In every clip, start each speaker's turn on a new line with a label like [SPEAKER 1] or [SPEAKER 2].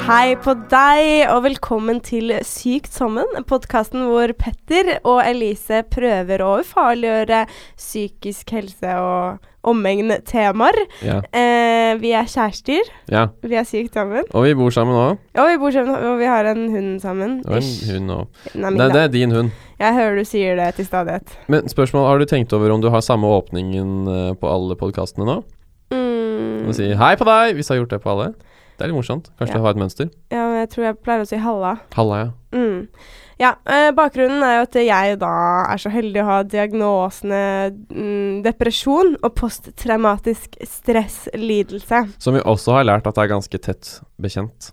[SPEAKER 1] Hei på deg, og velkommen til Sykt sammen, podkasten hvor Petter og Elise prøver å ufarliggjøre psykisk helse og omegn temaer.
[SPEAKER 2] Ja.
[SPEAKER 1] Eh, vi er kjærester,
[SPEAKER 2] ja.
[SPEAKER 1] vi er sykt sammen,
[SPEAKER 2] Og vi bor sammen òg.
[SPEAKER 1] og vi bor sammen, og vi har en hund sammen.
[SPEAKER 2] Og en
[SPEAKER 1] Ish.
[SPEAKER 2] hund òg.
[SPEAKER 1] Nei,
[SPEAKER 2] Nei,
[SPEAKER 1] min,
[SPEAKER 2] det
[SPEAKER 1] da.
[SPEAKER 2] er din hund.
[SPEAKER 1] Jeg hører du sier det til stadighet.
[SPEAKER 2] Men spørsmål, har du tenkt over om du har samme åpningen eh, på alle podkastene nå?
[SPEAKER 1] Mm.
[SPEAKER 2] Og si hei på deg, hvis du har gjort det på alle. Det er litt morsomt. Kanskje
[SPEAKER 1] Ja.
[SPEAKER 2] du har et mønster.
[SPEAKER 1] Mm, Ja, men jeg tror jeg pleier å si halla.
[SPEAKER 2] Halla, ja.
[SPEAKER 1] Mm. Ja, eh, bakgrunnen er jo at jeg da er så heldig å ha diagnosene mm, depresjon og posttraumatisk stresslidelse.
[SPEAKER 2] Som vi også har lært at det er ganske tett bekjent.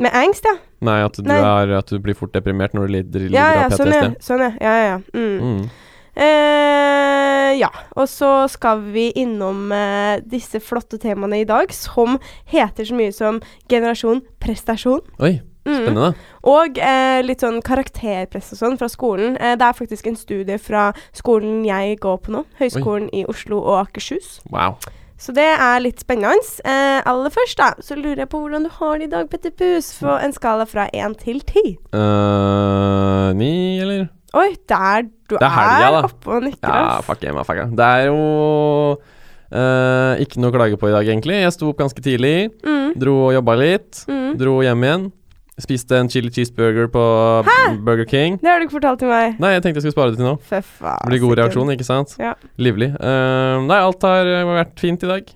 [SPEAKER 1] Med angst, ja.
[SPEAKER 2] Nei, at du,
[SPEAKER 1] Nei.
[SPEAKER 2] Er, at du blir fort deprimert når du lider, lider
[SPEAKER 1] Ja, ja,
[SPEAKER 2] av
[SPEAKER 1] sånn, ja.
[SPEAKER 2] PTSD.
[SPEAKER 1] Sånn, ja. ja, ja, ja. Mm.
[SPEAKER 2] Mm.
[SPEAKER 1] Eh, ja, og så skal vi innom eh, disse flotte temaene i dag, som heter så mye som generasjon prestasjon.
[SPEAKER 2] Oi,
[SPEAKER 1] Mm.
[SPEAKER 2] spennende.
[SPEAKER 1] Og eh, litt sånn karakterpress og sånn fra skolen. Eh, det er faktisk en studie fra skolen jeg går på nå, Høgskolen i Oslo og Akershus.
[SPEAKER 2] Wow.
[SPEAKER 1] Så det er litt spennende. Eh, aller først da, så lurer jeg på hvordan du har det i dag, Petter Pus, på en skala fra 1 til 10.
[SPEAKER 2] Eh, ni, eller?
[SPEAKER 1] Oi, der du
[SPEAKER 2] Det er helga, da.
[SPEAKER 1] oppe og nikker.
[SPEAKER 2] Ja,
[SPEAKER 1] ass.
[SPEAKER 2] fuck yeah, fuck yeah. Det er jo eh, ikke noe å klage på i dag, egentlig. Jeg sto opp ganske tidlig,
[SPEAKER 1] Mm,
[SPEAKER 2] dro og jobba litt.
[SPEAKER 1] mm.
[SPEAKER 2] Dro hjem igjen. Spiste en chili cheeseburger på Burger King.
[SPEAKER 1] Det har du ikke fortalt til meg.
[SPEAKER 2] Nei, jeg tenkte jeg skulle spare det til nå.
[SPEAKER 1] Fy faen.
[SPEAKER 2] Det blir god
[SPEAKER 1] sikkert.
[SPEAKER 2] reaksjon, ikke sant?
[SPEAKER 1] Ja.
[SPEAKER 2] Livlig. Eh, nei, alt har eh, vært fint i dag,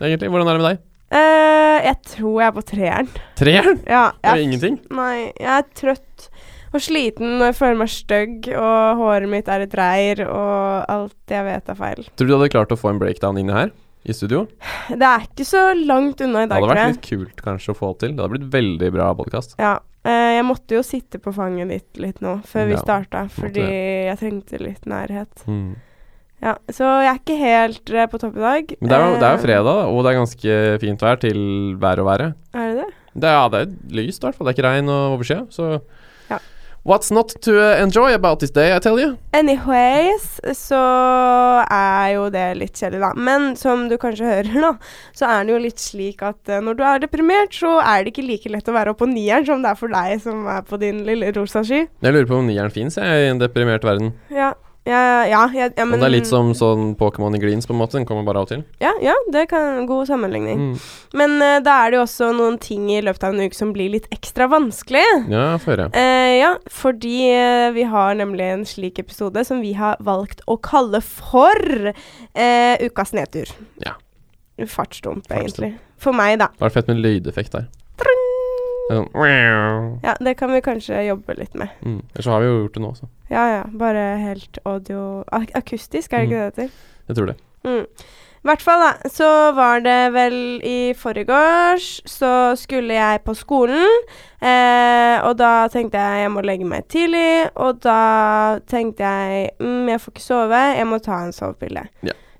[SPEAKER 2] egentlig. Hvordan er det med deg?
[SPEAKER 1] Eh, jeg tror jeg er på treeren.
[SPEAKER 2] Treeren?
[SPEAKER 1] Ja,
[SPEAKER 2] Det er
[SPEAKER 1] jeg,
[SPEAKER 2] ingenting.
[SPEAKER 1] nei, jeg er trøtt og sliten og jeg føler meg stygg, og håret mitt er et reir, og alt jeg vet er feil.
[SPEAKER 2] Tror du du hadde klart å få en breakdown inne her? I studio?
[SPEAKER 1] Det er ikke så langt unna i
[SPEAKER 2] Det
[SPEAKER 1] dag,
[SPEAKER 2] hadde
[SPEAKER 1] tror
[SPEAKER 2] vært
[SPEAKER 1] jeg.
[SPEAKER 2] litt kult kanskje å få til. Det hadde blitt veldig bra podkast.
[SPEAKER 1] Ja. eh, jeg måtte jo sitte på fanget ditt litt nå, før vi
[SPEAKER 2] Ja,
[SPEAKER 1] starta, fordi jeg trengte litt nærhet. Ja, Så jeg er ikke helt eh, på topp i dag.
[SPEAKER 2] Men det er, jo, det er jo
[SPEAKER 1] Eh,
[SPEAKER 2] fredag, da, og det er ganske fint vær til vær å være.
[SPEAKER 1] Er det det?
[SPEAKER 2] Det, er- ja, det er lyst, i hvert fall. Det er ikke regn og overskyet, så
[SPEAKER 1] Ja.
[SPEAKER 2] What's not to eh, enjoy about this day, I tell you?
[SPEAKER 1] Anyways, så er jo det litt kjedelig, da. Men som du kanskje hører, da, så er det jo litt slik at eh, når du er deprimert, så er det ikke like lett å være oppå nieren som det er for deg som er på din lille rosa sky.
[SPEAKER 2] Jeg lurer på om nieren fins i en deprimert verden.
[SPEAKER 1] Ja, ja, ja, ja, ja men
[SPEAKER 2] og det er litt
[SPEAKER 1] Mm.
[SPEAKER 2] som sånn Pokémon i Greens, på en måte. Den kommer bare av og til.
[SPEAKER 1] Ja, ja, det kan god sammenligning.
[SPEAKER 2] Mm.
[SPEAKER 1] Men eh, da er det jo også noen ting i løpet av en uke som blir litt ekstra vanskelig.
[SPEAKER 2] Ja, få høre.
[SPEAKER 1] Eh, ja, fordi eh, vi har nemlig en slik episode som vi har valgt å kalle for eh, Ukas nedtur.
[SPEAKER 2] Ja.
[SPEAKER 1] Fartsdump,
[SPEAKER 2] Fartsdump.
[SPEAKER 1] egentlig. For meg, da.
[SPEAKER 2] Det hadde vært fett med en lydeffekt der. Det er Sånn.
[SPEAKER 1] Ja, det kan vi kanskje jobbe litt med.
[SPEAKER 2] Mm. Ellers så har vi jo gjort det nå, så.
[SPEAKER 1] Ja ja, bare helt audio ak Akustisk, er det ikke det det heter?
[SPEAKER 2] Jeg tror det.
[SPEAKER 1] Mm. I hvert fall, da, så var det vel i forgårs, så skulle jeg på skolen. Eh, og da tenkte jeg jeg må legge meg tidlig, og da tenkte jeg mm, jeg får ikke sove, jeg må ta en sovepille.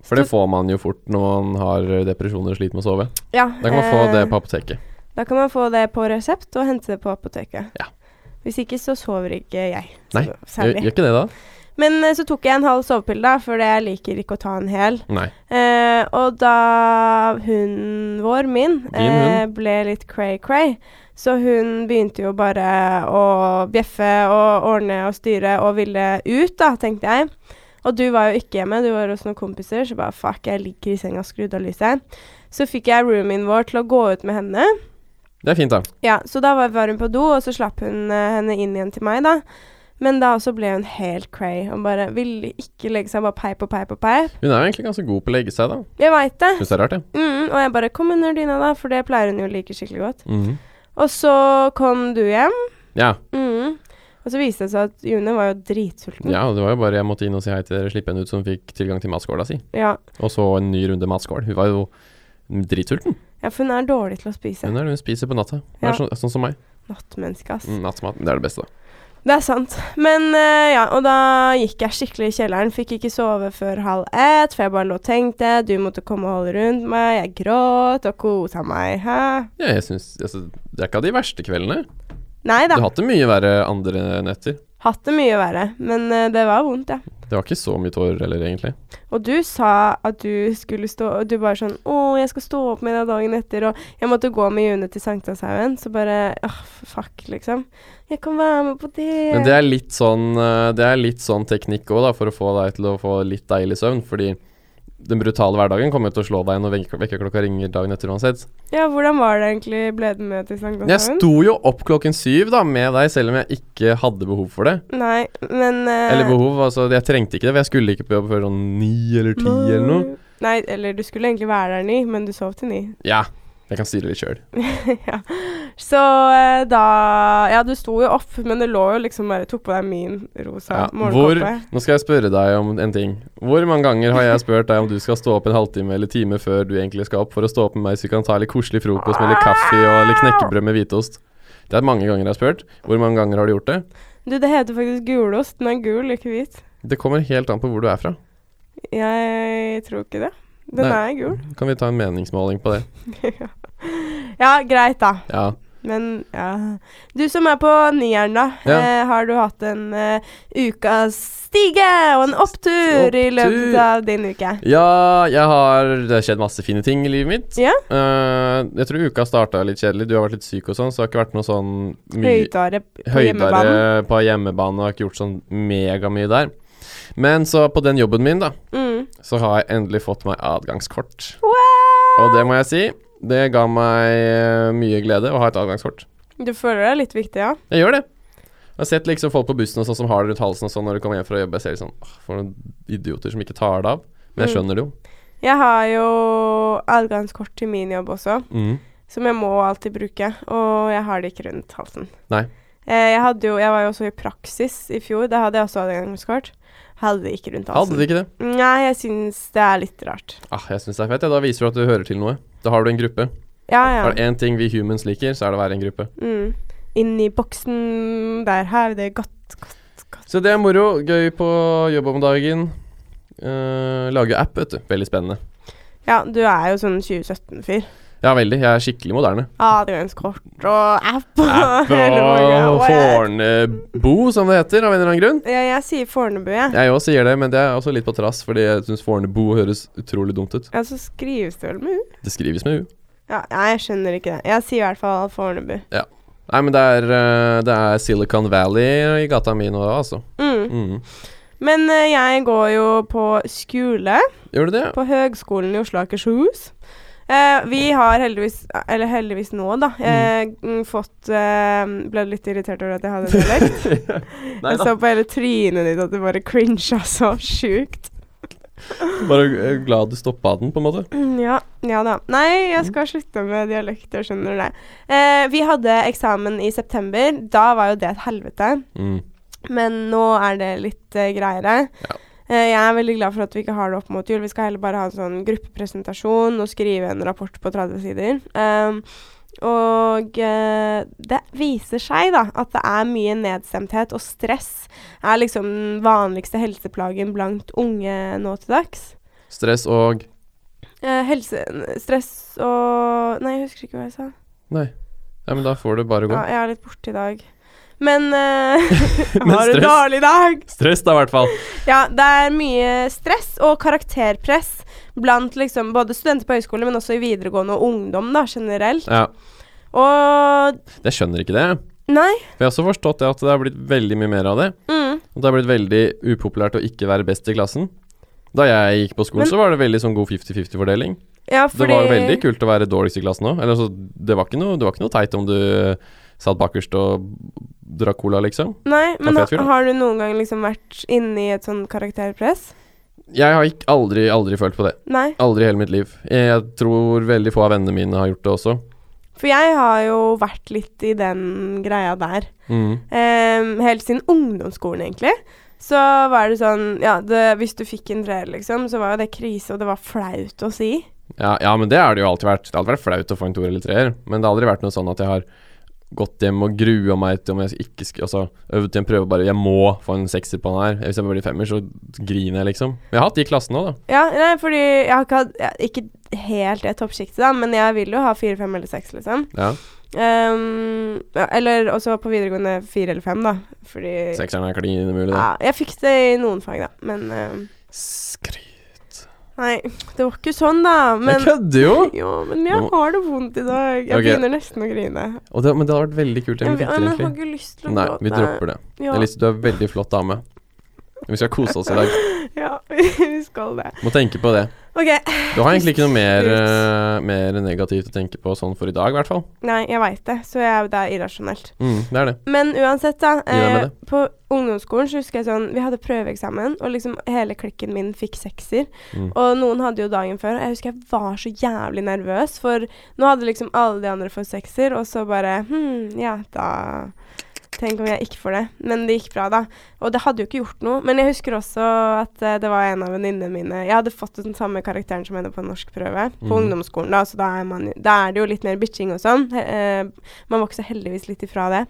[SPEAKER 2] For det får man jo fort når man har eh, depresjoner og sliter med å sove.
[SPEAKER 1] Ja,
[SPEAKER 2] Da kan man få
[SPEAKER 1] eh,
[SPEAKER 2] det på apoteket.
[SPEAKER 1] da kan man få det på resept og hente det på apoteket.
[SPEAKER 2] Ja.
[SPEAKER 1] Hvis ikke så sover ikke jeg.
[SPEAKER 2] Nei,
[SPEAKER 1] så-
[SPEAKER 2] Gjør,
[SPEAKER 1] særlig.
[SPEAKER 2] gjør ikke det, da?
[SPEAKER 1] Men eh, så tok jeg en halv sovepille, da, for jeg liker ikke å ta en hel.
[SPEAKER 2] Nei.
[SPEAKER 1] Eh, og da hunden vår, min,
[SPEAKER 2] Din hund?
[SPEAKER 1] eh, ble litt cray-cray, så hun begynte jo bare å bjeffe og ordne og styre og ville ut, da, tenkte jeg. Og du var jo ikke hjemme, du var hos noen kompiser, så bare fuck, jeg ligger i senga og skrudd av lyset. Så fikk jeg roomien vår til å gå ut med henne.
[SPEAKER 2] Det er fint, da.
[SPEAKER 1] Ja, så da var, var hun på do, og så slapp hun eh, henne inn igjen til meg, da. Men da også ble hun helt cray og bare ville ikke legge seg, bare peip og peip og peip.
[SPEAKER 2] Hun er jo egentlig ganske god på å legge seg, da.
[SPEAKER 1] Jeg veit det.
[SPEAKER 2] Syns det er rart, jeg.
[SPEAKER 1] Mm, og jeg bare 'kom under dyna, da', for det pleier hun jo å like skikkelig godt.
[SPEAKER 2] Mhm.
[SPEAKER 1] Og så kom du hjem,
[SPEAKER 2] Ja.
[SPEAKER 1] mm, og så viste det seg at June var jo dritsulten.
[SPEAKER 2] ja, det var jo bare jeg måtte inn og si hei til dere, slippe henne ut, så hun fikk tilgang til matskåla si.
[SPEAKER 1] Ja.
[SPEAKER 2] Og så en ny runde matskål. Hun var jo dritsulten.
[SPEAKER 1] ja, for hun er dårlig til å spise.
[SPEAKER 2] Hun er det hun spiser på natta. Hun
[SPEAKER 1] Ja.
[SPEAKER 2] er sånn, sånn som meg.
[SPEAKER 1] Nattmenneske, ass.
[SPEAKER 2] Mm, Nattmat. Det er det beste, da.
[SPEAKER 1] Det er sant. Men eh, ja, og da gikk jeg skikkelig i kjelleren. Fikk ikke sove før halv ett, for jeg bare lå og tenkte. Du måtte komme og holde rundt meg. Jeg gråt og kosa meg. Hæ?
[SPEAKER 2] Ja, jeg synes, altså, det er ikke av de verste kveldene.
[SPEAKER 1] Nei
[SPEAKER 2] Du
[SPEAKER 1] da.
[SPEAKER 2] har hatt det mye verre andre netter.
[SPEAKER 1] Hatt det mye verre, men eh, det var vondt, ja.
[SPEAKER 2] Det var ikke så mye tårer heller, egentlig.
[SPEAKER 1] Og du sa at du skulle stå Og du bare sånn 'Å, jeg skal stå opp med deg dagen etter', og jeg måtte gå med June til Sankthanshaugen, så bare Åh, fuck, liksom. Jeg kan være med på det.
[SPEAKER 2] Men det er litt sånn, eh, det er litt sånn teknikk òg, da, for å få deg til å få litt deilig søvn. Fordi den brutale hverdagen kommer jo til å slå deg når vek- vekkerklokka ringer dagen etter uansett.
[SPEAKER 1] Ja, hvordan var det egentlig? Ble du med til
[SPEAKER 2] Jeg
[SPEAKER 1] Sankthanshaugen?
[SPEAKER 2] sto jo opp klokken syv da med deg, selv om jeg ikke hadde behov for det.
[SPEAKER 1] Nei, men eh,
[SPEAKER 2] Eller behov, altså jeg trengte ikke det, for jeg skulle ikke på jobb før sånn ni eller ti eller noe.
[SPEAKER 1] Nei, eller du skulle egentlig være der ni, men du sov til ni.
[SPEAKER 2] Ja, jeg kan styre litt sjøl.
[SPEAKER 1] ja. Så eh, da Ja, du sto jo opp, men det lå jo liksom bare Tok på deg min rosa
[SPEAKER 2] Ja, hvor-
[SPEAKER 1] morgenkåpe.
[SPEAKER 2] Nå skal jeg spørre deg om en ting. Hvor mange ganger har jeg spurt deg om du skal stå opp en halvtime eller time før du egentlig skal opp, for å stå opp med meg så vi kan ta litt koselig frokost med litt kaffe og litt knekkebrød med hvitost? Det er mange ganger jeg har spurt. Hvor mange ganger har du gjort det?
[SPEAKER 1] Du, det heter faktisk gulost. Den er gul, ikke hvit.
[SPEAKER 2] Det kommer helt an på hvor du er fra.
[SPEAKER 1] Jeg tror ikke det. Den
[SPEAKER 2] Nei.
[SPEAKER 1] er gul.
[SPEAKER 2] Kan vi ta en meningsmåling på det?
[SPEAKER 1] Ja, greit, da.
[SPEAKER 2] Ja.
[SPEAKER 1] Men ja Du som er på nieren, da.
[SPEAKER 2] Ja.
[SPEAKER 1] Eh, har du hatt en eh, ukas stige og en opptur, i løpet
[SPEAKER 2] Opptur.
[SPEAKER 1] av din uke?
[SPEAKER 2] Ja, jeg har Det har skjedd masse fine ting i livet mitt.
[SPEAKER 1] Ja.
[SPEAKER 2] Eh, jeg tror uka starta litt kjedelig. Du har vært litt syk og sånn, så det har ikke vært noe sånn mye
[SPEAKER 1] Høydare på hjemmebanen.
[SPEAKER 2] høydere på hjemmebane. Har ikke gjort sånn megamye der. Men så på den jobben min, da,
[SPEAKER 1] Mm.
[SPEAKER 2] så har jeg endelig fått meg adgangskort.
[SPEAKER 1] Wow!
[SPEAKER 2] Og det må jeg si, det ga meg eh, mye glede å ha et adgangskort.
[SPEAKER 1] Du føler deg litt viktig, ja?
[SPEAKER 2] Jeg gjør det. Jeg har sett liksom folk på bussen og sånn som har det rundt halsen og sånn når de kommer hjem fra jobb. Jeg ser sånn «Åh, For noen idioter som ikke tar det av. Men jeg
[SPEAKER 1] Mm.
[SPEAKER 2] skjønner det jo.
[SPEAKER 1] Jeg har jo adgangskort til min jobb også,
[SPEAKER 2] Mm.
[SPEAKER 1] som jeg må alltid bruke. Og jeg har det ikke rundt halsen.
[SPEAKER 2] Nei.
[SPEAKER 1] Eh, jeg, hadde jo, jeg var jo også i praksis i fjor. Da hadde jeg også adgangskort. Hadde det ikke rundt halsen.
[SPEAKER 2] Hadde de ikke det?
[SPEAKER 1] Nei, jeg syns det er litt rart.
[SPEAKER 2] Ah, jeg syns det er fett. Ja. Da viser du at du hører til noe. Da har du en gruppe.
[SPEAKER 1] Ja,
[SPEAKER 2] Er
[SPEAKER 1] ja.
[SPEAKER 2] det én ting vi humans liker, så er det å være en gruppe.
[SPEAKER 1] Mm. Inn i boksen, der har vi det godt, godt, godt.
[SPEAKER 2] Så det er moro. Gøy på jobb om dagen. Eh, lage app, vet du. Veldig spennende.
[SPEAKER 1] Ja, du er jo sånn 2017-fyr.
[SPEAKER 2] Ja, veldig. Jeg er skikkelig moderne.
[SPEAKER 1] Adgangskort og app
[SPEAKER 2] App
[SPEAKER 1] hele
[SPEAKER 2] og
[SPEAKER 1] pakka. What?
[SPEAKER 2] Fornebu, som det heter, av en eller annen grunn.
[SPEAKER 1] Ja, jeg sier Fornebu, jeg.
[SPEAKER 2] Jeg òg sier det, men det er også litt på trass, fordi jeg syns Fornebu høres utrolig dumt ut.
[SPEAKER 1] Ja, så skrives det vel med U?
[SPEAKER 2] Det skrives med U.
[SPEAKER 1] Ja, nei, jeg skjønner ikke det. Jeg sier i hvert fall Fornebu.
[SPEAKER 2] Nei, men det er, eh, det er Silicon Valley i gata mi nå, altså.
[SPEAKER 1] Mm.
[SPEAKER 2] Mm.
[SPEAKER 1] Men eh, jeg går jo på skole
[SPEAKER 2] Gjør du det?
[SPEAKER 1] på Høgskolen i Oslo og Akershus. Eh, vi har heldigvis, eller heldigvis nå, da, eh, mm. fått eh, Ble litt irritert over at jeg hadde dialekt.
[SPEAKER 2] Nei
[SPEAKER 1] Jeg
[SPEAKER 2] da.
[SPEAKER 1] så på hele trynet ditt at du bare crincha så sjukt.
[SPEAKER 2] Bare eh, glad du stoppa den, på en måte.
[SPEAKER 1] Mm, Ja, ja da. Nei, jeg skal slutte med dialekt, jeg skjønner det. Eh, vi hadde eksamen i september. Da var jo det et helvete.
[SPEAKER 2] Mm.
[SPEAKER 1] Men nå er det litt eh, greiere.
[SPEAKER 2] Ja.
[SPEAKER 1] Eh, jeg er veldig glad for at vi ikke har det opp mot jul. Vi skal heller bare ha en sånn gruppepresentasjon og skrive en rapport på 30 sider. Um, og eh, det viser seg da at det er mye nedstemthet, og stress er liksom den vanligste helseplagen blant unge nå til dags.
[SPEAKER 2] Stress og
[SPEAKER 1] Eh, helse, stress og Nei, jeg husker ikke hva jeg sa.
[SPEAKER 2] Nei. Ja, men da får det bare gå.
[SPEAKER 1] Ja, jeg er litt borte i dag. Men eh, jeg
[SPEAKER 2] Men
[SPEAKER 1] har en
[SPEAKER 2] stress-
[SPEAKER 1] dårlig dag.
[SPEAKER 2] Stress, da, i hvert fall.
[SPEAKER 1] Ja, det er mye stress og karakterpress blant liksom både studenter på høyskole, men også i videregående og ungdom da, generelt.
[SPEAKER 2] Ja.
[SPEAKER 1] Og
[SPEAKER 2] Jeg skjønner ikke det.
[SPEAKER 1] Nei.
[SPEAKER 2] For jeg har også forstått det at det har blitt veldig mye mer av det.
[SPEAKER 1] Mm.
[SPEAKER 2] Og det har blitt veldig upopulært å ikke være best i klassen. Da jeg gikk på skolen,
[SPEAKER 1] Men-
[SPEAKER 2] så var det veldig sånn god 50-50-fordeling.
[SPEAKER 1] Ja,
[SPEAKER 2] Det
[SPEAKER 1] fordi
[SPEAKER 2] var jo veldig kult å være dårligst i klassen òg. Altså, det, var ikke noe- det var ikke noe teit om du eh, satt bakerst og drakk cola, liksom.
[SPEAKER 1] Nei, men
[SPEAKER 2] var
[SPEAKER 1] ha,
[SPEAKER 2] fet fyr, da.
[SPEAKER 1] har du noen gang liksom vært inne i et sånn karakterpress?
[SPEAKER 2] Jeg har ikke, aldri, aldri følt på det.
[SPEAKER 1] Nei.
[SPEAKER 2] Aldri i hele mitt liv. Jeg tror veldig få av vennene mine har gjort det også.
[SPEAKER 1] For jeg har jo vært litt i den greia der.
[SPEAKER 2] Mm.
[SPEAKER 1] Ehm, helt siden ungdomsskolen, egentlig. Så var det sånn Ja, det, hvis du fikk en treer, liksom, så var jo det krise, og det var flaut å si.
[SPEAKER 2] Ja, ja, men det har det jo alltid vært. Det har alltid vært flaut å få en toer eller treer, men det har aldri vært noe sånn at jeg har gått hjem og grua meg til om jeg ikke skulle Altså øvd til en prøve og bare Jeg må få en sekser på den her. Hvis jeg blir femmer, så griner jeg, liksom. Men jeg har hatt de klassene òg, da.
[SPEAKER 1] Ja, nei, fordi jeg har ikke hatt ja, Ikke helt det toppsjiktet, da, men jeg vil jo ha fire, fem eller seks, liksom.
[SPEAKER 2] Ja.
[SPEAKER 1] Ehm, ja, eller også på videregående fire eller fem, da. Fordi
[SPEAKER 2] Sekseren er klin umulig, det.
[SPEAKER 1] ja, Jeg fikk det i noen fag, da. Men ehm,
[SPEAKER 2] Skryt.
[SPEAKER 1] Nei, det var ikke sånn, da.
[SPEAKER 2] Jeg
[SPEAKER 1] Men,
[SPEAKER 2] kødder jo!
[SPEAKER 1] jo, men jeg
[SPEAKER 2] Nå-
[SPEAKER 1] har det vondt i dag. Jeg
[SPEAKER 2] Ok.
[SPEAKER 1] begynner nesten å grine.
[SPEAKER 2] Og det, men det hadde vært veldig kult.
[SPEAKER 1] Jeg, jeg,
[SPEAKER 2] om vi fikk til,
[SPEAKER 1] jeg har
[SPEAKER 2] egentlig.
[SPEAKER 1] ikke lyst til å
[SPEAKER 2] Nei, vi
[SPEAKER 1] gråte.
[SPEAKER 2] dropper det.
[SPEAKER 1] Ja,
[SPEAKER 2] Elise, du er en veldig flott dame. Vi skal kose oss i dag.
[SPEAKER 1] ja vi skal det.
[SPEAKER 2] Må tenke på det.
[SPEAKER 1] OK.
[SPEAKER 2] Du har egentlig ikke noe mer, eh, mer negativt å tenke på sånn for i dag, i hvert fall.
[SPEAKER 1] Nei, jeg veit det, så jeg, det er irrasjonelt.
[SPEAKER 2] Mm, det er det.
[SPEAKER 1] Men uansett, da.
[SPEAKER 2] Gi deg med
[SPEAKER 1] Eh, på ungdomsskolen så husker jeg sånn Vi hadde prøveeksamen, og liksom hele klikken min fikk sekser.
[SPEAKER 2] Mm.
[SPEAKER 1] Og noen hadde jo dagen før. og Jeg husker jeg var så jævlig nervøs, for nå hadde liksom alle de andre fått sekser, og så bare Hm, ja, da Tenk om jeg ikke får det. Men det gikk bra, da. Og det hadde jo ikke gjort noe. Men jeg husker også at eh, det var en av venninnene mine Jeg hadde fått den samme karakteren som henne på norskprøve på
[SPEAKER 2] Mhm.
[SPEAKER 1] ungdomsskolen, da, så da er, man, da er det jo litt mer bitching og sånn. He- eh, Man vokser heldigvis litt ifra det.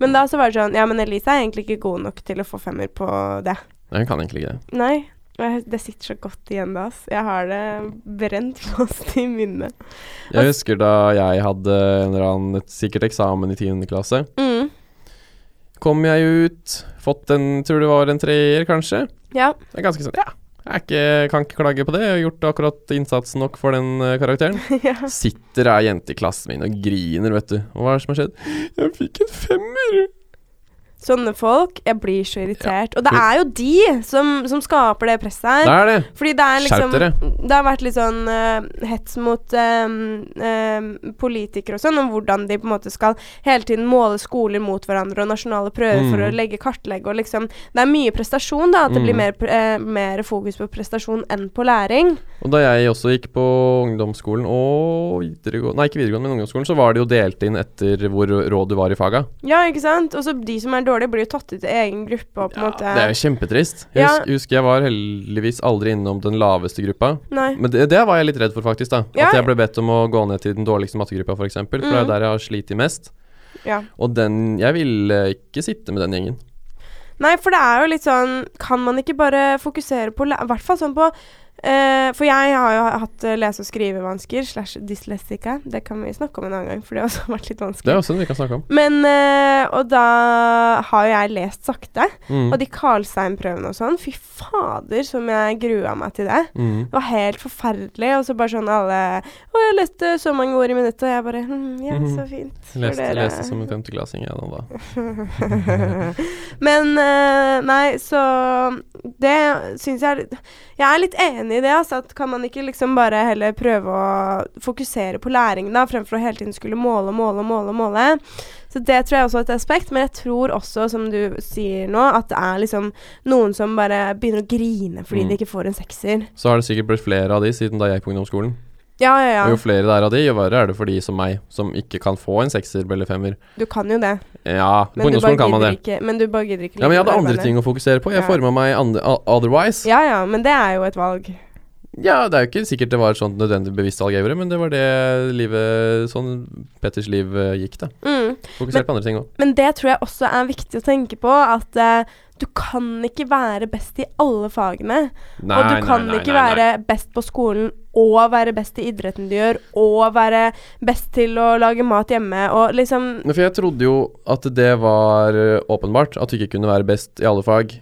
[SPEAKER 1] Men da så var det sånn Ja, men Elise er egentlig ikke god nok til å få femmer på det.
[SPEAKER 2] Nei, hun kan egentlig ikke det.
[SPEAKER 1] Nei. og jeg- Det sitter så godt igjen, da. ass. Jeg har det brent fast i minnet.
[SPEAKER 2] Jeg husker da jeg hadde en eller annen, et sikkert eksamen i 10. klasse.
[SPEAKER 1] Mm.
[SPEAKER 2] Kom jeg ut, fått en Tror det var en treer, kanskje.
[SPEAKER 1] Ja.
[SPEAKER 2] Det er ganske sånn, ja. Jeg er ikke, kan ikke klage på det. Jeg har gjort akkurat innsatsen nok for den eh, karakteren.
[SPEAKER 1] ja.
[SPEAKER 2] Sitter ei jente i klassen min og griner, vet du. Og hva er det som har skjedd? Jeg fikk en femmer!
[SPEAKER 1] Sånne folk. Jeg blir så irritert. Og det
[SPEAKER 2] Hun-
[SPEAKER 1] er jo de som, som skaper det presset her.
[SPEAKER 2] Det er det.
[SPEAKER 1] Fordi det er liksom
[SPEAKER 2] Skjerp dere.
[SPEAKER 1] Det har vært litt sånn eh, hets mot eh, eh, politikere og sånn, om hvordan de på en måte skal hele tiden måle skoler mot hverandre og nasjonale prøver for å
[SPEAKER 2] Mm.
[SPEAKER 1] legge kartlegge og liksom Det er mye prestasjon, da. At det
[SPEAKER 2] Mm.
[SPEAKER 1] blir mer, pre- eh, mer fokus på prestasjon enn på læring.
[SPEAKER 2] Og da jeg også gikk på ungdomsskolen og videregående Nei, ikke videregående, men ungdomsskolen, så var det jo delt inn etter hvor rå du var i faga.
[SPEAKER 1] Ja, ikke sant? Og så de som er dårlige, blir jo tatt ut i egen gruppe og på en
[SPEAKER 2] Ja,
[SPEAKER 1] måte
[SPEAKER 2] det er jo kjempetrist. Jeg
[SPEAKER 1] Ja.
[SPEAKER 2] husker, husker jeg var heldigvis aldri innom den laveste gruppa.
[SPEAKER 1] Nei.
[SPEAKER 2] Men det, det var jeg litt redd for, faktisk. da
[SPEAKER 1] Ja.
[SPEAKER 2] At jeg ble bedt om å gå ned til den dårligste mattegruppa, f.eks. For, eksempel, for
[SPEAKER 1] Mm.
[SPEAKER 2] det er jo der jeg har slitt mest.
[SPEAKER 1] Ja.
[SPEAKER 2] Og den Jeg ville ikke sitte med den gjengen.
[SPEAKER 1] Nei, for det er jo litt sånn Kan man ikke bare fokusere på læ- I hvert fall sånn på eh, For jeg har jo hatt eh, lese- og skrivevansker slash dyslexika. Det kan vi snakke om en annen gang, for det har også vært litt
[SPEAKER 2] Det er
[SPEAKER 1] vanskelig.
[SPEAKER 2] også noe vi kan snakke om.
[SPEAKER 1] Men eh, Og da har jo jeg lest sakte.
[SPEAKER 2] Mm.
[SPEAKER 1] Og de Karlstein-prøvene og sånn, fy fader som jeg grua meg til det.
[SPEAKER 2] Mm.
[SPEAKER 1] Det var helt forferdelig. Og så bare sånn alle Å, jeg leste så mange ord i minuttet, og jeg bare hm, Ja,
[SPEAKER 2] Mhm.
[SPEAKER 1] så fint. for
[SPEAKER 2] Leste,
[SPEAKER 1] dere».
[SPEAKER 2] leste som en femteklassing, jeg nå, da.
[SPEAKER 1] Men eh, nei, så det syns jeg er litt- Jeg er litt enig i det, altså. At kan man ikke liksom bare heller prøve å fokusere på læring, da, fremfor å hele tiden skulle måle, måle, måle, måle. Så det tror jeg også er et aspekt. Men jeg tror også, som du sier nå, at det er liksom noen som bare begynner å grine fordi
[SPEAKER 2] Mm.
[SPEAKER 1] de ikke får en sekser.
[SPEAKER 2] Så har det sikkert blitt flere av de siden da jeg gikk på ungdomsskolen.
[SPEAKER 1] Ja, ja,
[SPEAKER 2] Og jo
[SPEAKER 1] ja.
[SPEAKER 2] flere det er av de, jo verre er det for de som meg, som ikke kan få en sekser eller femmer.
[SPEAKER 1] Du kan jo det.
[SPEAKER 2] Ja,
[SPEAKER 1] Men du
[SPEAKER 2] på
[SPEAKER 1] bare
[SPEAKER 2] ungdomsskolen kan man
[SPEAKER 1] gidder
[SPEAKER 2] det.
[SPEAKER 1] ikke. Men du bare gidder ikke
[SPEAKER 2] Ja, men jeg hadde
[SPEAKER 1] likevel,
[SPEAKER 2] andre
[SPEAKER 1] bare.
[SPEAKER 2] ting å fokusere på.
[SPEAKER 1] Ja.
[SPEAKER 2] Jeg forma meg andre, o- otherwise. Ja.
[SPEAKER 1] Ja ja, men det er jo et valg.
[SPEAKER 2] det er jo ikke sikkert det var et sånt nødvendig bevisst valg jeg gjorde, men det var det livet Sånn Petters liv eh, gikk, da.
[SPEAKER 1] Mm.
[SPEAKER 2] Fokusert på andre ting òg.
[SPEAKER 1] Men det tror jeg også er viktig å tenke på, at eh, du kan ikke være best i alle fagene. og du kan ikke være best på skolen og være best i idretten du gjør, og være best til å lage mat hjemme og liksom
[SPEAKER 2] Nei, For jeg trodde jo at det var eh, åpenbart, at du ikke kunne være best i alle fag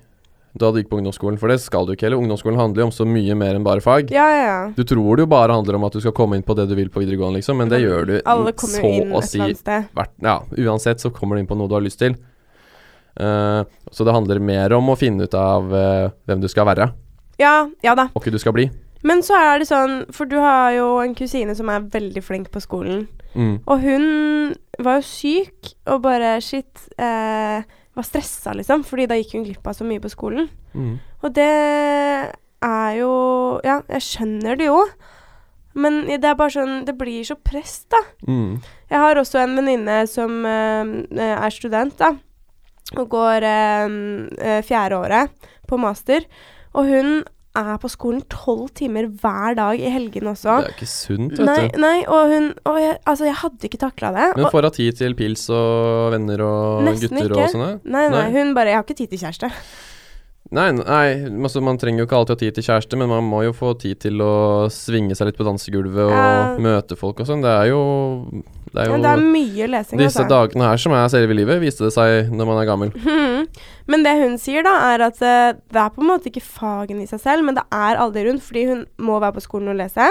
[SPEAKER 2] da du gikk på ungdomsskolen, for det skal du ikke heller. Ungdomsskolen handler jo om så mye mer enn bare fag.
[SPEAKER 1] Ja, ja, ja.
[SPEAKER 2] Du tror det jo bare handler om at du skal komme inn på det du vil på videregående, liksom, men det gjør du
[SPEAKER 1] Alle kommer
[SPEAKER 2] så
[SPEAKER 1] jo inn
[SPEAKER 2] å
[SPEAKER 1] et
[SPEAKER 2] si
[SPEAKER 1] eller annet sted.
[SPEAKER 2] hvert, ja, uansett så kommer du inn på noe du har lyst til. Eh, så det handler mer om å finne ut av eh, hvem du skal være,
[SPEAKER 1] Ja, ja da.
[SPEAKER 2] og ikke du skal bli.
[SPEAKER 1] Men så er det sånn, for du har jo en kusine som er veldig flink på skolen.
[SPEAKER 2] Mm.
[SPEAKER 1] Og hun var jo syk og bare shit eh, var stressa, liksom, fordi da gikk hun glipp av så mye på skolen.
[SPEAKER 2] Mm.
[SPEAKER 1] Og det er jo Ja, jeg skjønner det jo. Men det er bare sånn Det blir så press, da.
[SPEAKER 2] Mm.
[SPEAKER 1] Jeg har også en venninne som eh, er student, da. Og går eh, eh, fjerde året på master. Og hun er på skolen tolv timer hver dag i helgene
[SPEAKER 2] Det
[SPEAKER 1] også.
[SPEAKER 2] er jo ikke sunt, vet
[SPEAKER 1] Nei,
[SPEAKER 2] du.
[SPEAKER 1] nei, og hun og jeg, Altså, jeg hadde ikke takla det.
[SPEAKER 2] Men
[SPEAKER 1] Og,
[SPEAKER 2] får hun tid til pils og venner og
[SPEAKER 1] Nesten
[SPEAKER 2] gutter
[SPEAKER 1] ikke.
[SPEAKER 2] og sånne?
[SPEAKER 1] nei, nei,
[SPEAKER 2] Nei.
[SPEAKER 1] hun bare 'Jeg har ikke tid til kjæreste'.
[SPEAKER 2] Nei, nei altså, man trenger jo ikke alltid ha tid til kjæreste, men man må jo få tid til å svinge seg litt på dansegulvet og
[SPEAKER 1] Ja.
[SPEAKER 2] møte folk og sånn. Det er jo Det er
[SPEAKER 1] Ja,
[SPEAKER 2] jo
[SPEAKER 1] det er mye lesing,
[SPEAKER 2] disse
[SPEAKER 1] altså.
[SPEAKER 2] dagene her som er selve livet, viste det seg når man er gammel.
[SPEAKER 1] Mhm. Men det hun sier, da, er at eh, det er på en måte ikke fagene i seg selv, men det er aldri rundt, fordi hun må være på skolen og lese.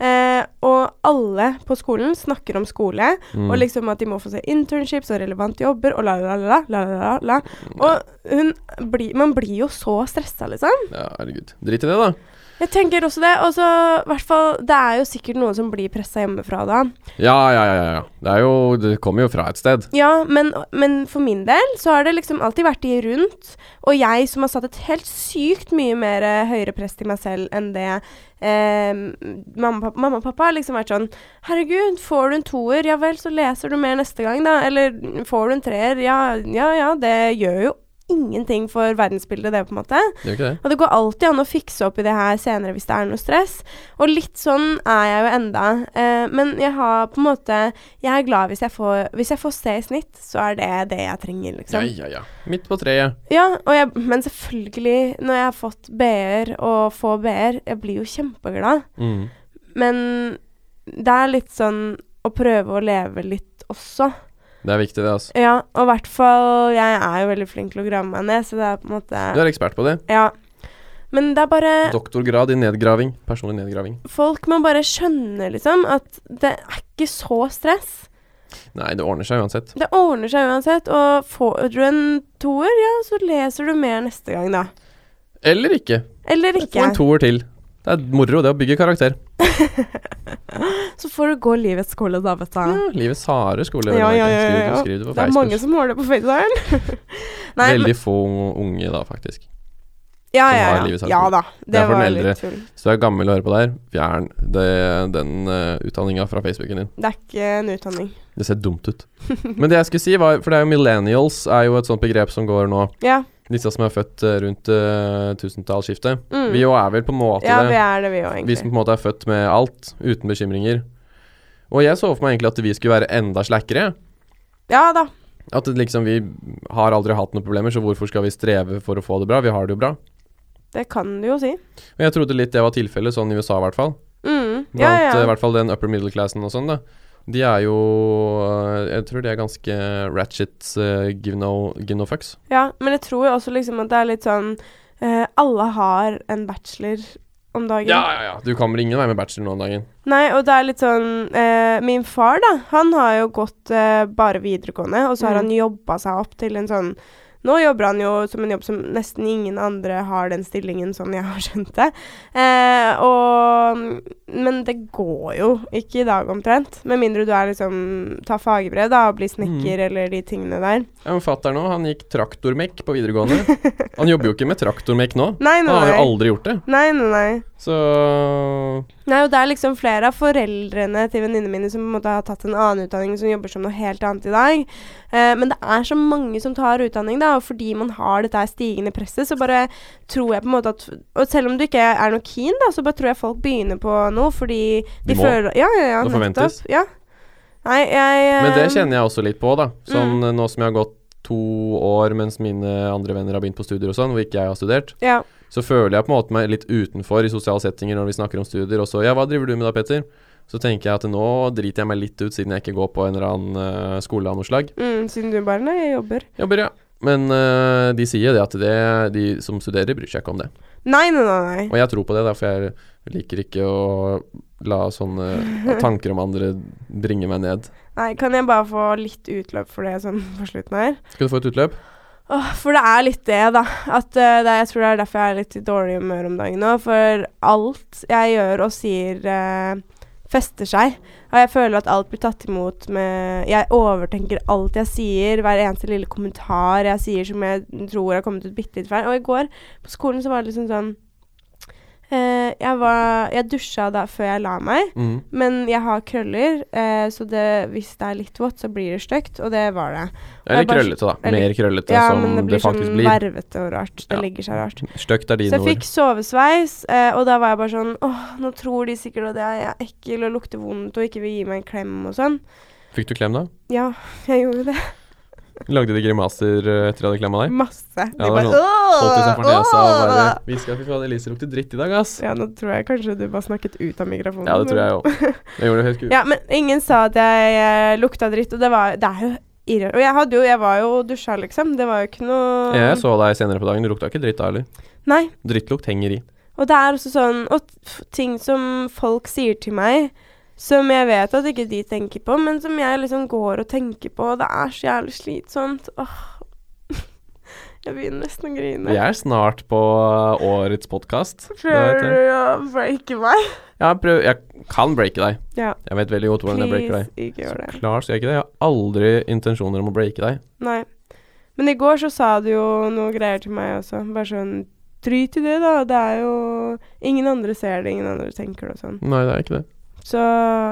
[SPEAKER 1] Eh, og alle på skolen snakker om skole,
[SPEAKER 2] Mm.
[SPEAKER 1] og liksom at de må få se internships og relevante jobber og la-la-la. la la la Og hun blir- man blir jo så stressa, liksom.
[SPEAKER 2] Ja, herregud. Drit i det, da.
[SPEAKER 1] Jeg tenker også det. Og så, i hvert fall, det er jo sikkert noen som blir pressa hjemmefra da.
[SPEAKER 2] Ja, ja, ja. ja, ja. Det, er jo, det kommer jo fra et sted.
[SPEAKER 1] Ja, men, men for min del så har det liksom alltid vært de rundt. Og jeg som har satt et helt sykt mye mer eh, høyere press til meg selv enn det eh, mamma, og pappa, mamma og pappa har liksom vært sånn Herregud, får du en toer, ja vel, så leser du mer neste gang, da. Eller får du en treer, ja ja, ja det gjør jo ingenting for verdensbildet, det, på en måte.
[SPEAKER 2] Gjør ikke det?
[SPEAKER 1] Og det går alltid an å fikse opp i det her senere hvis det er noe stress. Og litt sånn er jeg jo enda. Eh, men jeg har på en måte Jeg er glad hvis jeg får Hvis jeg får C i snitt, så er det det jeg trenger,
[SPEAKER 2] Ja,
[SPEAKER 1] liksom.
[SPEAKER 2] ja, ja. Midt på treet.
[SPEAKER 1] Ja, og jeg, men selvfølgelig, når jeg har fått B-er og få B-er, jeg blir jo kjempeglad.
[SPEAKER 2] Mm.
[SPEAKER 1] Men det er litt sånn å prøve å leve litt også.
[SPEAKER 2] Det er viktig, det, altså.
[SPEAKER 1] Ja, og i hvert fall Jeg er jo veldig flink til å grave meg ned, så det er på en måte
[SPEAKER 2] Du er ekspert på det.
[SPEAKER 1] Ja. Men det er bare
[SPEAKER 2] Doktorgrad i nedgraving. Personlig nedgraving.
[SPEAKER 1] folk må bare skjønne liksom at det er ikke så stress.
[SPEAKER 2] Nei, det ordner seg uansett.
[SPEAKER 1] Det ordner seg uansett, og får du en toer, ja, så leser du mer neste gang, da.
[SPEAKER 2] Eller ikke.
[SPEAKER 1] Eller
[SPEAKER 2] Få
[SPEAKER 1] ikke.
[SPEAKER 2] en toer til. Det er moro, det å bygge karakter.
[SPEAKER 1] Så får du gå livets skole, da, vet du.
[SPEAKER 2] Ja, livets harde skole.
[SPEAKER 1] Ja, ja, ja,
[SPEAKER 2] Skriv,
[SPEAKER 1] ja.
[SPEAKER 2] skriv det på
[SPEAKER 1] Det er mange
[SPEAKER 2] Facebook.
[SPEAKER 1] som har det på Facebooken. Nei, men,
[SPEAKER 2] Veldig få unge da, faktisk.
[SPEAKER 1] ja,
[SPEAKER 2] som
[SPEAKER 1] ja,
[SPEAKER 2] har livets
[SPEAKER 1] ja.
[SPEAKER 2] harde
[SPEAKER 1] ja
[SPEAKER 2] skole.
[SPEAKER 1] da.
[SPEAKER 2] Det
[SPEAKER 1] Det
[SPEAKER 2] er for
[SPEAKER 1] var
[SPEAKER 2] den eldre.
[SPEAKER 1] litt tull.
[SPEAKER 2] Hvis du er gammel og hører på der, fjern det, den uh, utdanninga fra Facebooken din.
[SPEAKER 1] Det er ikke en utdanning.
[SPEAKER 2] Det ser dumt ut. Men det jeg skulle si, var For det er jo millennials er jo et sånt begrep som går nå.
[SPEAKER 1] Ja.
[SPEAKER 2] Disse som er født eh, rundt uh, tusentallsskiftet.
[SPEAKER 1] Mm.
[SPEAKER 2] Vi jo er vel på en måte
[SPEAKER 1] ja,
[SPEAKER 2] det.
[SPEAKER 1] vi er det, vi òg,
[SPEAKER 2] Vi som
[SPEAKER 1] egentlig.
[SPEAKER 2] på en måte er født med alt, uten bekymringer. Og jeg så for meg egentlig at vi skulle være enda slackere.
[SPEAKER 1] Ja da.
[SPEAKER 2] At det liksom vi har aldri hatt noen problemer, så hvorfor skal vi streve for å få det bra? Vi har det jo bra.
[SPEAKER 1] Det kan du jo si.
[SPEAKER 2] Og jeg trodde litt det var tilfellet, sånn i USA i hvert fall.
[SPEAKER 1] Mm. Ja,
[SPEAKER 2] Blant
[SPEAKER 1] ja.
[SPEAKER 2] eh, i
[SPEAKER 1] ja.
[SPEAKER 2] hvert fall den upper middle classen og sånn, da. De er jo eh, Jeg tror de er ganske ratchet, eh, give, no, give no fucks.
[SPEAKER 1] ja. Men jeg tror jo også liksom at det er litt sånn eh, Alle har en bachelor om dagen.
[SPEAKER 2] Ja, ja, ja. Du kommer ingen vei med bachelor nå om dagen.
[SPEAKER 1] Nei, og det er litt sånn eh, Min far, da, han har jo gått eh, bare videregående, og så har
[SPEAKER 2] Mm.
[SPEAKER 1] han jobba seg opp til en sånn Nå jobber han jo som en jobb som nesten ingen andre har den stillingen, sånn jeg har skjønt det. Eh, og Men det går jo ikke i dag, omtrent. Med mindre du er liksom Tar fagbrev, da, og blir snekker eller de tingene der.
[SPEAKER 2] Ja, men Fatter'n òg, han gikk traktormekk på videregående. Han jobber jo ikke med traktormekk nå.
[SPEAKER 1] Nei,
[SPEAKER 2] Han
[SPEAKER 1] nei,
[SPEAKER 2] har jo
[SPEAKER 1] nei.
[SPEAKER 2] aldri gjort det.
[SPEAKER 1] Nei, nei, nei.
[SPEAKER 2] Så
[SPEAKER 1] Nei, og det er liksom flere av foreldrene til venninnene mine som på en måte har tatt en annen utdanning, som jobber som noe helt annet i dag. Eh, men det er så mange som tar utdanning, da, og fordi man har dette her stigende presset, så bare tror jeg på en måte at Og selv om du ikke er noe keen, da, så bare tror jeg folk begynner på noe fordi de,
[SPEAKER 2] De må.
[SPEAKER 1] føler Ja, ja, ja.
[SPEAKER 2] Det forventes.
[SPEAKER 1] nettopp. Ja. Nei, jeg eh,
[SPEAKER 2] Men det kjenner jeg også litt på, da. Sånn eh, nå som jeg har gått to år mens mine andre venner har begynt på studier og sånn, hvor ikke jeg har studert,
[SPEAKER 1] eh, Ja.
[SPEAKER 2] så føler jeg på en måte meg litt utenfor i sosiale settinger når vi snakker om studier, og så Ja, hva driver du med da, Petter? Så tenker jeg at nå driter jeg meg litt ut, siden jeg ikke går på en eller annen eh, skole av noe slag.
[SPEAKER 1] Mm, siden du bare Nei, jeg jobber.
[SPEAKER 2] Jobber, ja. Men eh, de sier det at det, de som studerer, bryr seg ikke om det.
[SPEAKER 1] Nei, nei, nei. nei.
[SPEAKER 2] Og jeg tror på det, derfor jeg liker ikke å la sånne tanker om andre bringe meg ned.
[SPEAKER 1] nei. Kan jeg bare få litt utløp for det sånn på slutten her?
[SPEAKER 2] Skal du få et utløp?
[SPEAKER 1] Åh, for det er litt det, da. At, eh, det er, jeg tror det er derfor jeg er litt i dårlig humør om dagen nå. For alt jeg gjør og sier, eh, fester seg. Og jeg føler at alt blir tatt imot med Jeg overtenker alt jeg sier, hver eneste lille kommentar jeg sier som jeg tror har kommet ut bitte litt feil. Og i går på skolen så var det liksom sånn eh, Jeg, var, jeg dusja da før jeg la meg.
[SPEAKER 2] Mm.
[SPEAKER 1] Men jeg har krøller, eh, så det, hvis det er litt vått, så blir det stygt. Og det var det.
[SPEAKER 2] Eller
[SPEAKER 1] Jeg bare-
[SPEAKER 2] krøllete, da.
[SPEAKER 1] eller-
[SPEAKER 2] Mer krøllete,
[SPEAKER 1] Ja,
[SPEAKER 2] som
[SPEAKER 1] men
[SPEAKER 2] det,
[SPEAKER 1] det blir
[SPEAKER 2] faktisk
[SPEAKER 1] sånn
[SPEAKER 2] blir.
[SPEAKER 1] vervete og rart. Det
[SPEAKER 2] Ja.
[SPEAKER 1] ligger seg rart.
[SPEAKER 2] Stygt er
[SPEAKER 1] Så
[SPEAKER 2] dine
[SPEAKER 1] jeg
[SPEAKER 2] ord.
[SPEAKER 1] fikk sovesveis, eh, og da var jeg bare sånn Åh, nå tror de sikkert at jeg er ekkel og lukter vondt og ikke vil gi meg en klem og sånn.
[SPEAKER 2] Fikk du klem, da?
[SPEAKER 1] Ja, jeg gjorde det.
[SPEAKER 2] Lagde de grimaser eh, etter at jeg klemma deg?
[SPEAKER 1] Masse. De
[SPEAKER 2] det var
[SPEAKER 1] bare
[SPEAKER 2] sånn.
[SPEAKER 1] «Åh,
[SPEAKER 2] Holdt de seg for nesa og bare
[SPEAKER 1] åh!»
[SPEAKER 2] hviska fy faen, Elise lukter dritt i dag, ass.
[SPEAKER 1] Ja, nå tror jeg kanskje du bare snakket ut av mikrofonen.
[SPEAKER 2] Ja, det tror jeg
[SPEAKER 1] men-
[SPEAKER 2] òg. Jeg gjorde det helt kult.
[SPEAKER 1] Ja, men ingen sa at jeg eh, lukta dritt, og det, var, det er jo irre... Og jeg, hadde jo, jeg var jo og dusja, liksom. Det var jo ikke noe
[SPEAKER 2] Jeg så deg senere på dagen, du lukta ikke dritt da heller.
[SPEAKER 1] Nei.
[SPEAKER 2] Drittlukt henger i.
[SPEAKER 1] Og det er også sånn Og f- ting som folk sier til meg, som jeg vet at ikke de tenker på, men som jeg liksom går og tenker på, og det er så jævlig slitsomt. Åh. Jeg begynner nesten å grine.
[SPEAKER 2] Vi er snart på eh, årets podkast.
[SPEAKER 1] Prøver
[SPEAKER 2] Jeg,
[SPEAKER 1] du å breake meg?
[SPEAKER 2] prøv- jeg kan breake deg.
[SPEAKER 1] Ja.
[SPEAKER 2] Jeg vet veldig godt hvordan jeg breaker
[SPEAKER 1] Please,
[SPEAKER 2] deg.
[SPEAKER 1] ikke gjør det.
[SPEAKER 2] Klar skal jeg ikke det. Jeg har aldri intensjoner om å breake deg.
[SPEAKER 1] Nei. Men i går så sa du jo noe greier til meg også. Bare sånn Drit i det, da. Det er jo Ingen andre ser det, ingen andre tenker det og sånn.
[SPEAKER 2] Nei, det er ikke det.
[SPEAKER 1] Så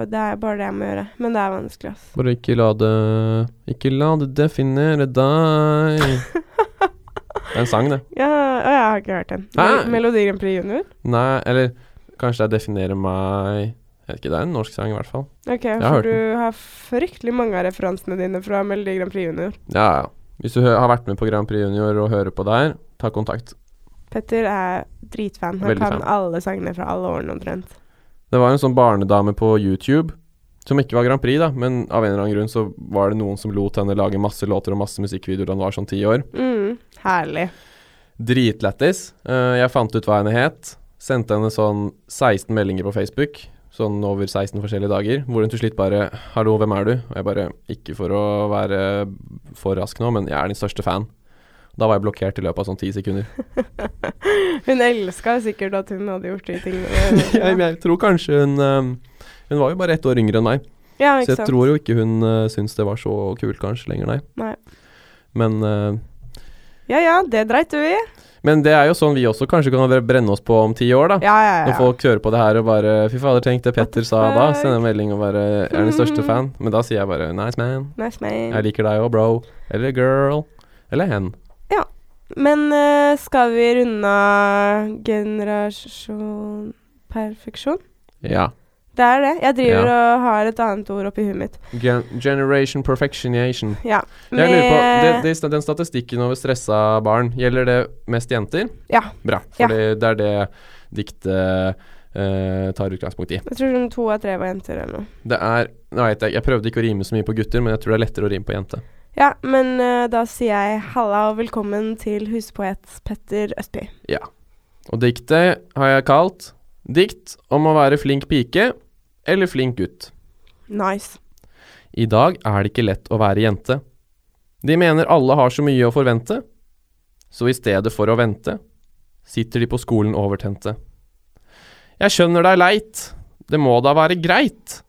[SPEAKER 1] det er bare det jeg må gjøre. Men det er vanskelig, ass.
[SPEAKER 2] Bare ikke la det Ikke la det definere deg. Det er en sang, det.
[SPEAKER 1] Ja, og jeg har ikke hørt den.
[SPEAKER 2] Hæ?
[SPEAKER 1] Mel- Melodi Grand Prix Junior?
[SPEAKER 2] Nei, eller kanskje det er 'Definere meg' Jeg vet ikke, det er en norsk sang i hvert fall.
[SPEAKER 1] Ok,
[SPEAKER 2] har
[SPEAKER 1] for
[SPEAKER 2] hørt
[SPEAKER 1] du har fryktelig mange av referansene dine fra Melodi Grand Prix Junior.
[SPEAKER 2] Ja, ja. Hvis du hø har vært med på Grand Prix Junior og hører på der, ta kontakt.
[SPEAKER 1] Petter er dritfan. Han
[SPEAKER 2] Veldig
[SPEAKER 1] kan
[SPEAKER 2] fan.
[SPEAKER 1] alle sangene fra alle årene omtrent.
[SPEAKER 2] Det var en sånn barnedame på YouTube som ikke var Grand Prix, da, men av en eller annen grunn så var det noen som lot henne lage masse låter og masse musikkvideoer da hun var sånn ti år.
[SPEAKER 1] Mm, herlig.
[SPEAKER 2] Dritlættis. Eh, jeg fant ut hva henne het. Sendte henne sånn 16 meldinger på Facebook, sånn over 16 forskjellige dager, hvor hun til slutt bare 'Hallo, hvem er du?' Og jeg bare Ikke for å være for rask nå, men jeg er din største fan. Da var jeg blokkert i løpet av sånn ti sekunder.
[SPEAKER 1] Hun elska sikkert at hun hadde gjort de tingene.
[SPEAKER 2] Jeg, jeg tror kanskje hun eh, Hun var jo bare ett år yngre enn meg.
[SPEAKER 1] ja,
[SPEAKER 2] Så
[SPEAKER 1] ikke
[SPEAKER 2] jeg
[SPEAKER 1] sant.
[SPEAKER 2] tror jo ikke hun uh, syns det var så kult kanskje lenger, nei.
[SPEAKER 1] Nei.
[SPEAKER 2] Men, eh,
[SPEAKER 1] Ja ja, det dreit du i.
[SPEAKER 2] men det er jo sånn vi også kanskje kan bre- brenne oss på om ti år, da.
[SPEAKER 1] Ja ja ja.
[SPEAKER 2] Når folk hører på det her og bare Fy fader, tenk det Petter sa
[SPEAKER 1] fuck? Mm.
[SPEAKER 2] da. Sender en melding og bare Er den største fan. Men da sier jeg bare nice man.
[SPEAKER 1] Nice man.
[SPEAKER 2] Jeg liker deg òg, bro. Eller girl. Eller hen.
[SPEAKER 1] Men eh, skal vi runde av generasjon perfeksjon?
[SPEAKER 2] Ja.
[SPEAKER 1] Det er det. Jeg driver og har et annet ord oppi huet mitt.
[SPEAKER 2] Gen generation perfectionation.
[SPEAKER 1] Ja.
[SPEAKER 2] Jeg lurer på,
[SPEAKER 1] med-
[SPEAKER 2] det, det, Den statistikken over stressa barn, gjelder det mest jenter?
[SPEAKER 1] Ja.
[SPEAKER 2] Bra.
[SPEAKER 1] Ja.
[SPEAKER 2] Fordi det er det diktet eh, tar utgangspunkt i.
[SPEAKER 1] Jeg tror sånn to av tre var jenter eller noe.
[SPEAKER 2] Det er Nå vet jeg, jeg prøvde ikke å rime så mye på gutter, men jeg tror det er lettere å rime på jente.
[SPEAKER 1] Ja, men eh, da sier jeg halla og velkommen til huspoet Petter Østby.
[SPEAKER 2] Og diktet har jeg kalt 'Dikt om å være flink pike eller flink gutt'.
[SPEAKER 1] Nice.
[SPEAKER 2] I dag er det ikke lett å være jente. De mener alle har så mye å forvente, så i stedet for å vente, sitter de på skolen overtente. Jeg skjønner det er leit, det må da være greit.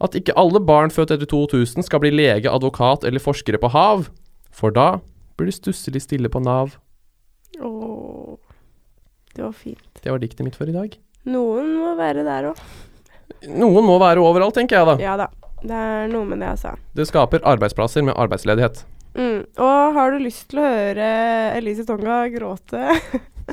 [SPEAKER 2] At ikke alle barn født etter 2000 skal bli lege, advokat eller forskere på hav, for da blir det stusselig stille på Nav.
[SPEAKER 1] Åh, det var fint.
[SPEAKER 2] Det var diktet mitt for i dag.
[SPEAKER 1] Noen må være der òg.
[SPEAKER 2] Noen må være overalt, tenker jeg da.
[SPEAKER 1] Ja da. Det er noe med det, altså.
[SPEAKER 2] Det skaper arbeidsplasser med arbeidsledighet.
[SPEAKER 1] Mm. Og har du lyst til å høre Elise Tonga gråte,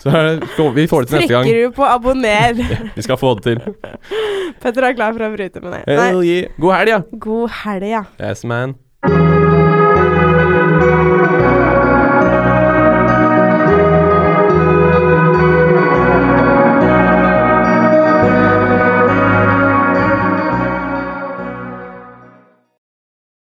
[SPEAKER 2] Så er det, så vi får det til neste gang.
[SPEAKER 1] trykker du på abonner.
[SPEAKER 2] Vi skal få det til.
[SPEAKER 1] Petter er klar for å bryte med deg.
[SPEAKER 2] Hell
[SPEAKER 1] Nei.
[SPEAKER 2] yeah. God helg, ja.
[SPEAKER 1] God helg, ja.
[SPEAKER 2] Yes, man.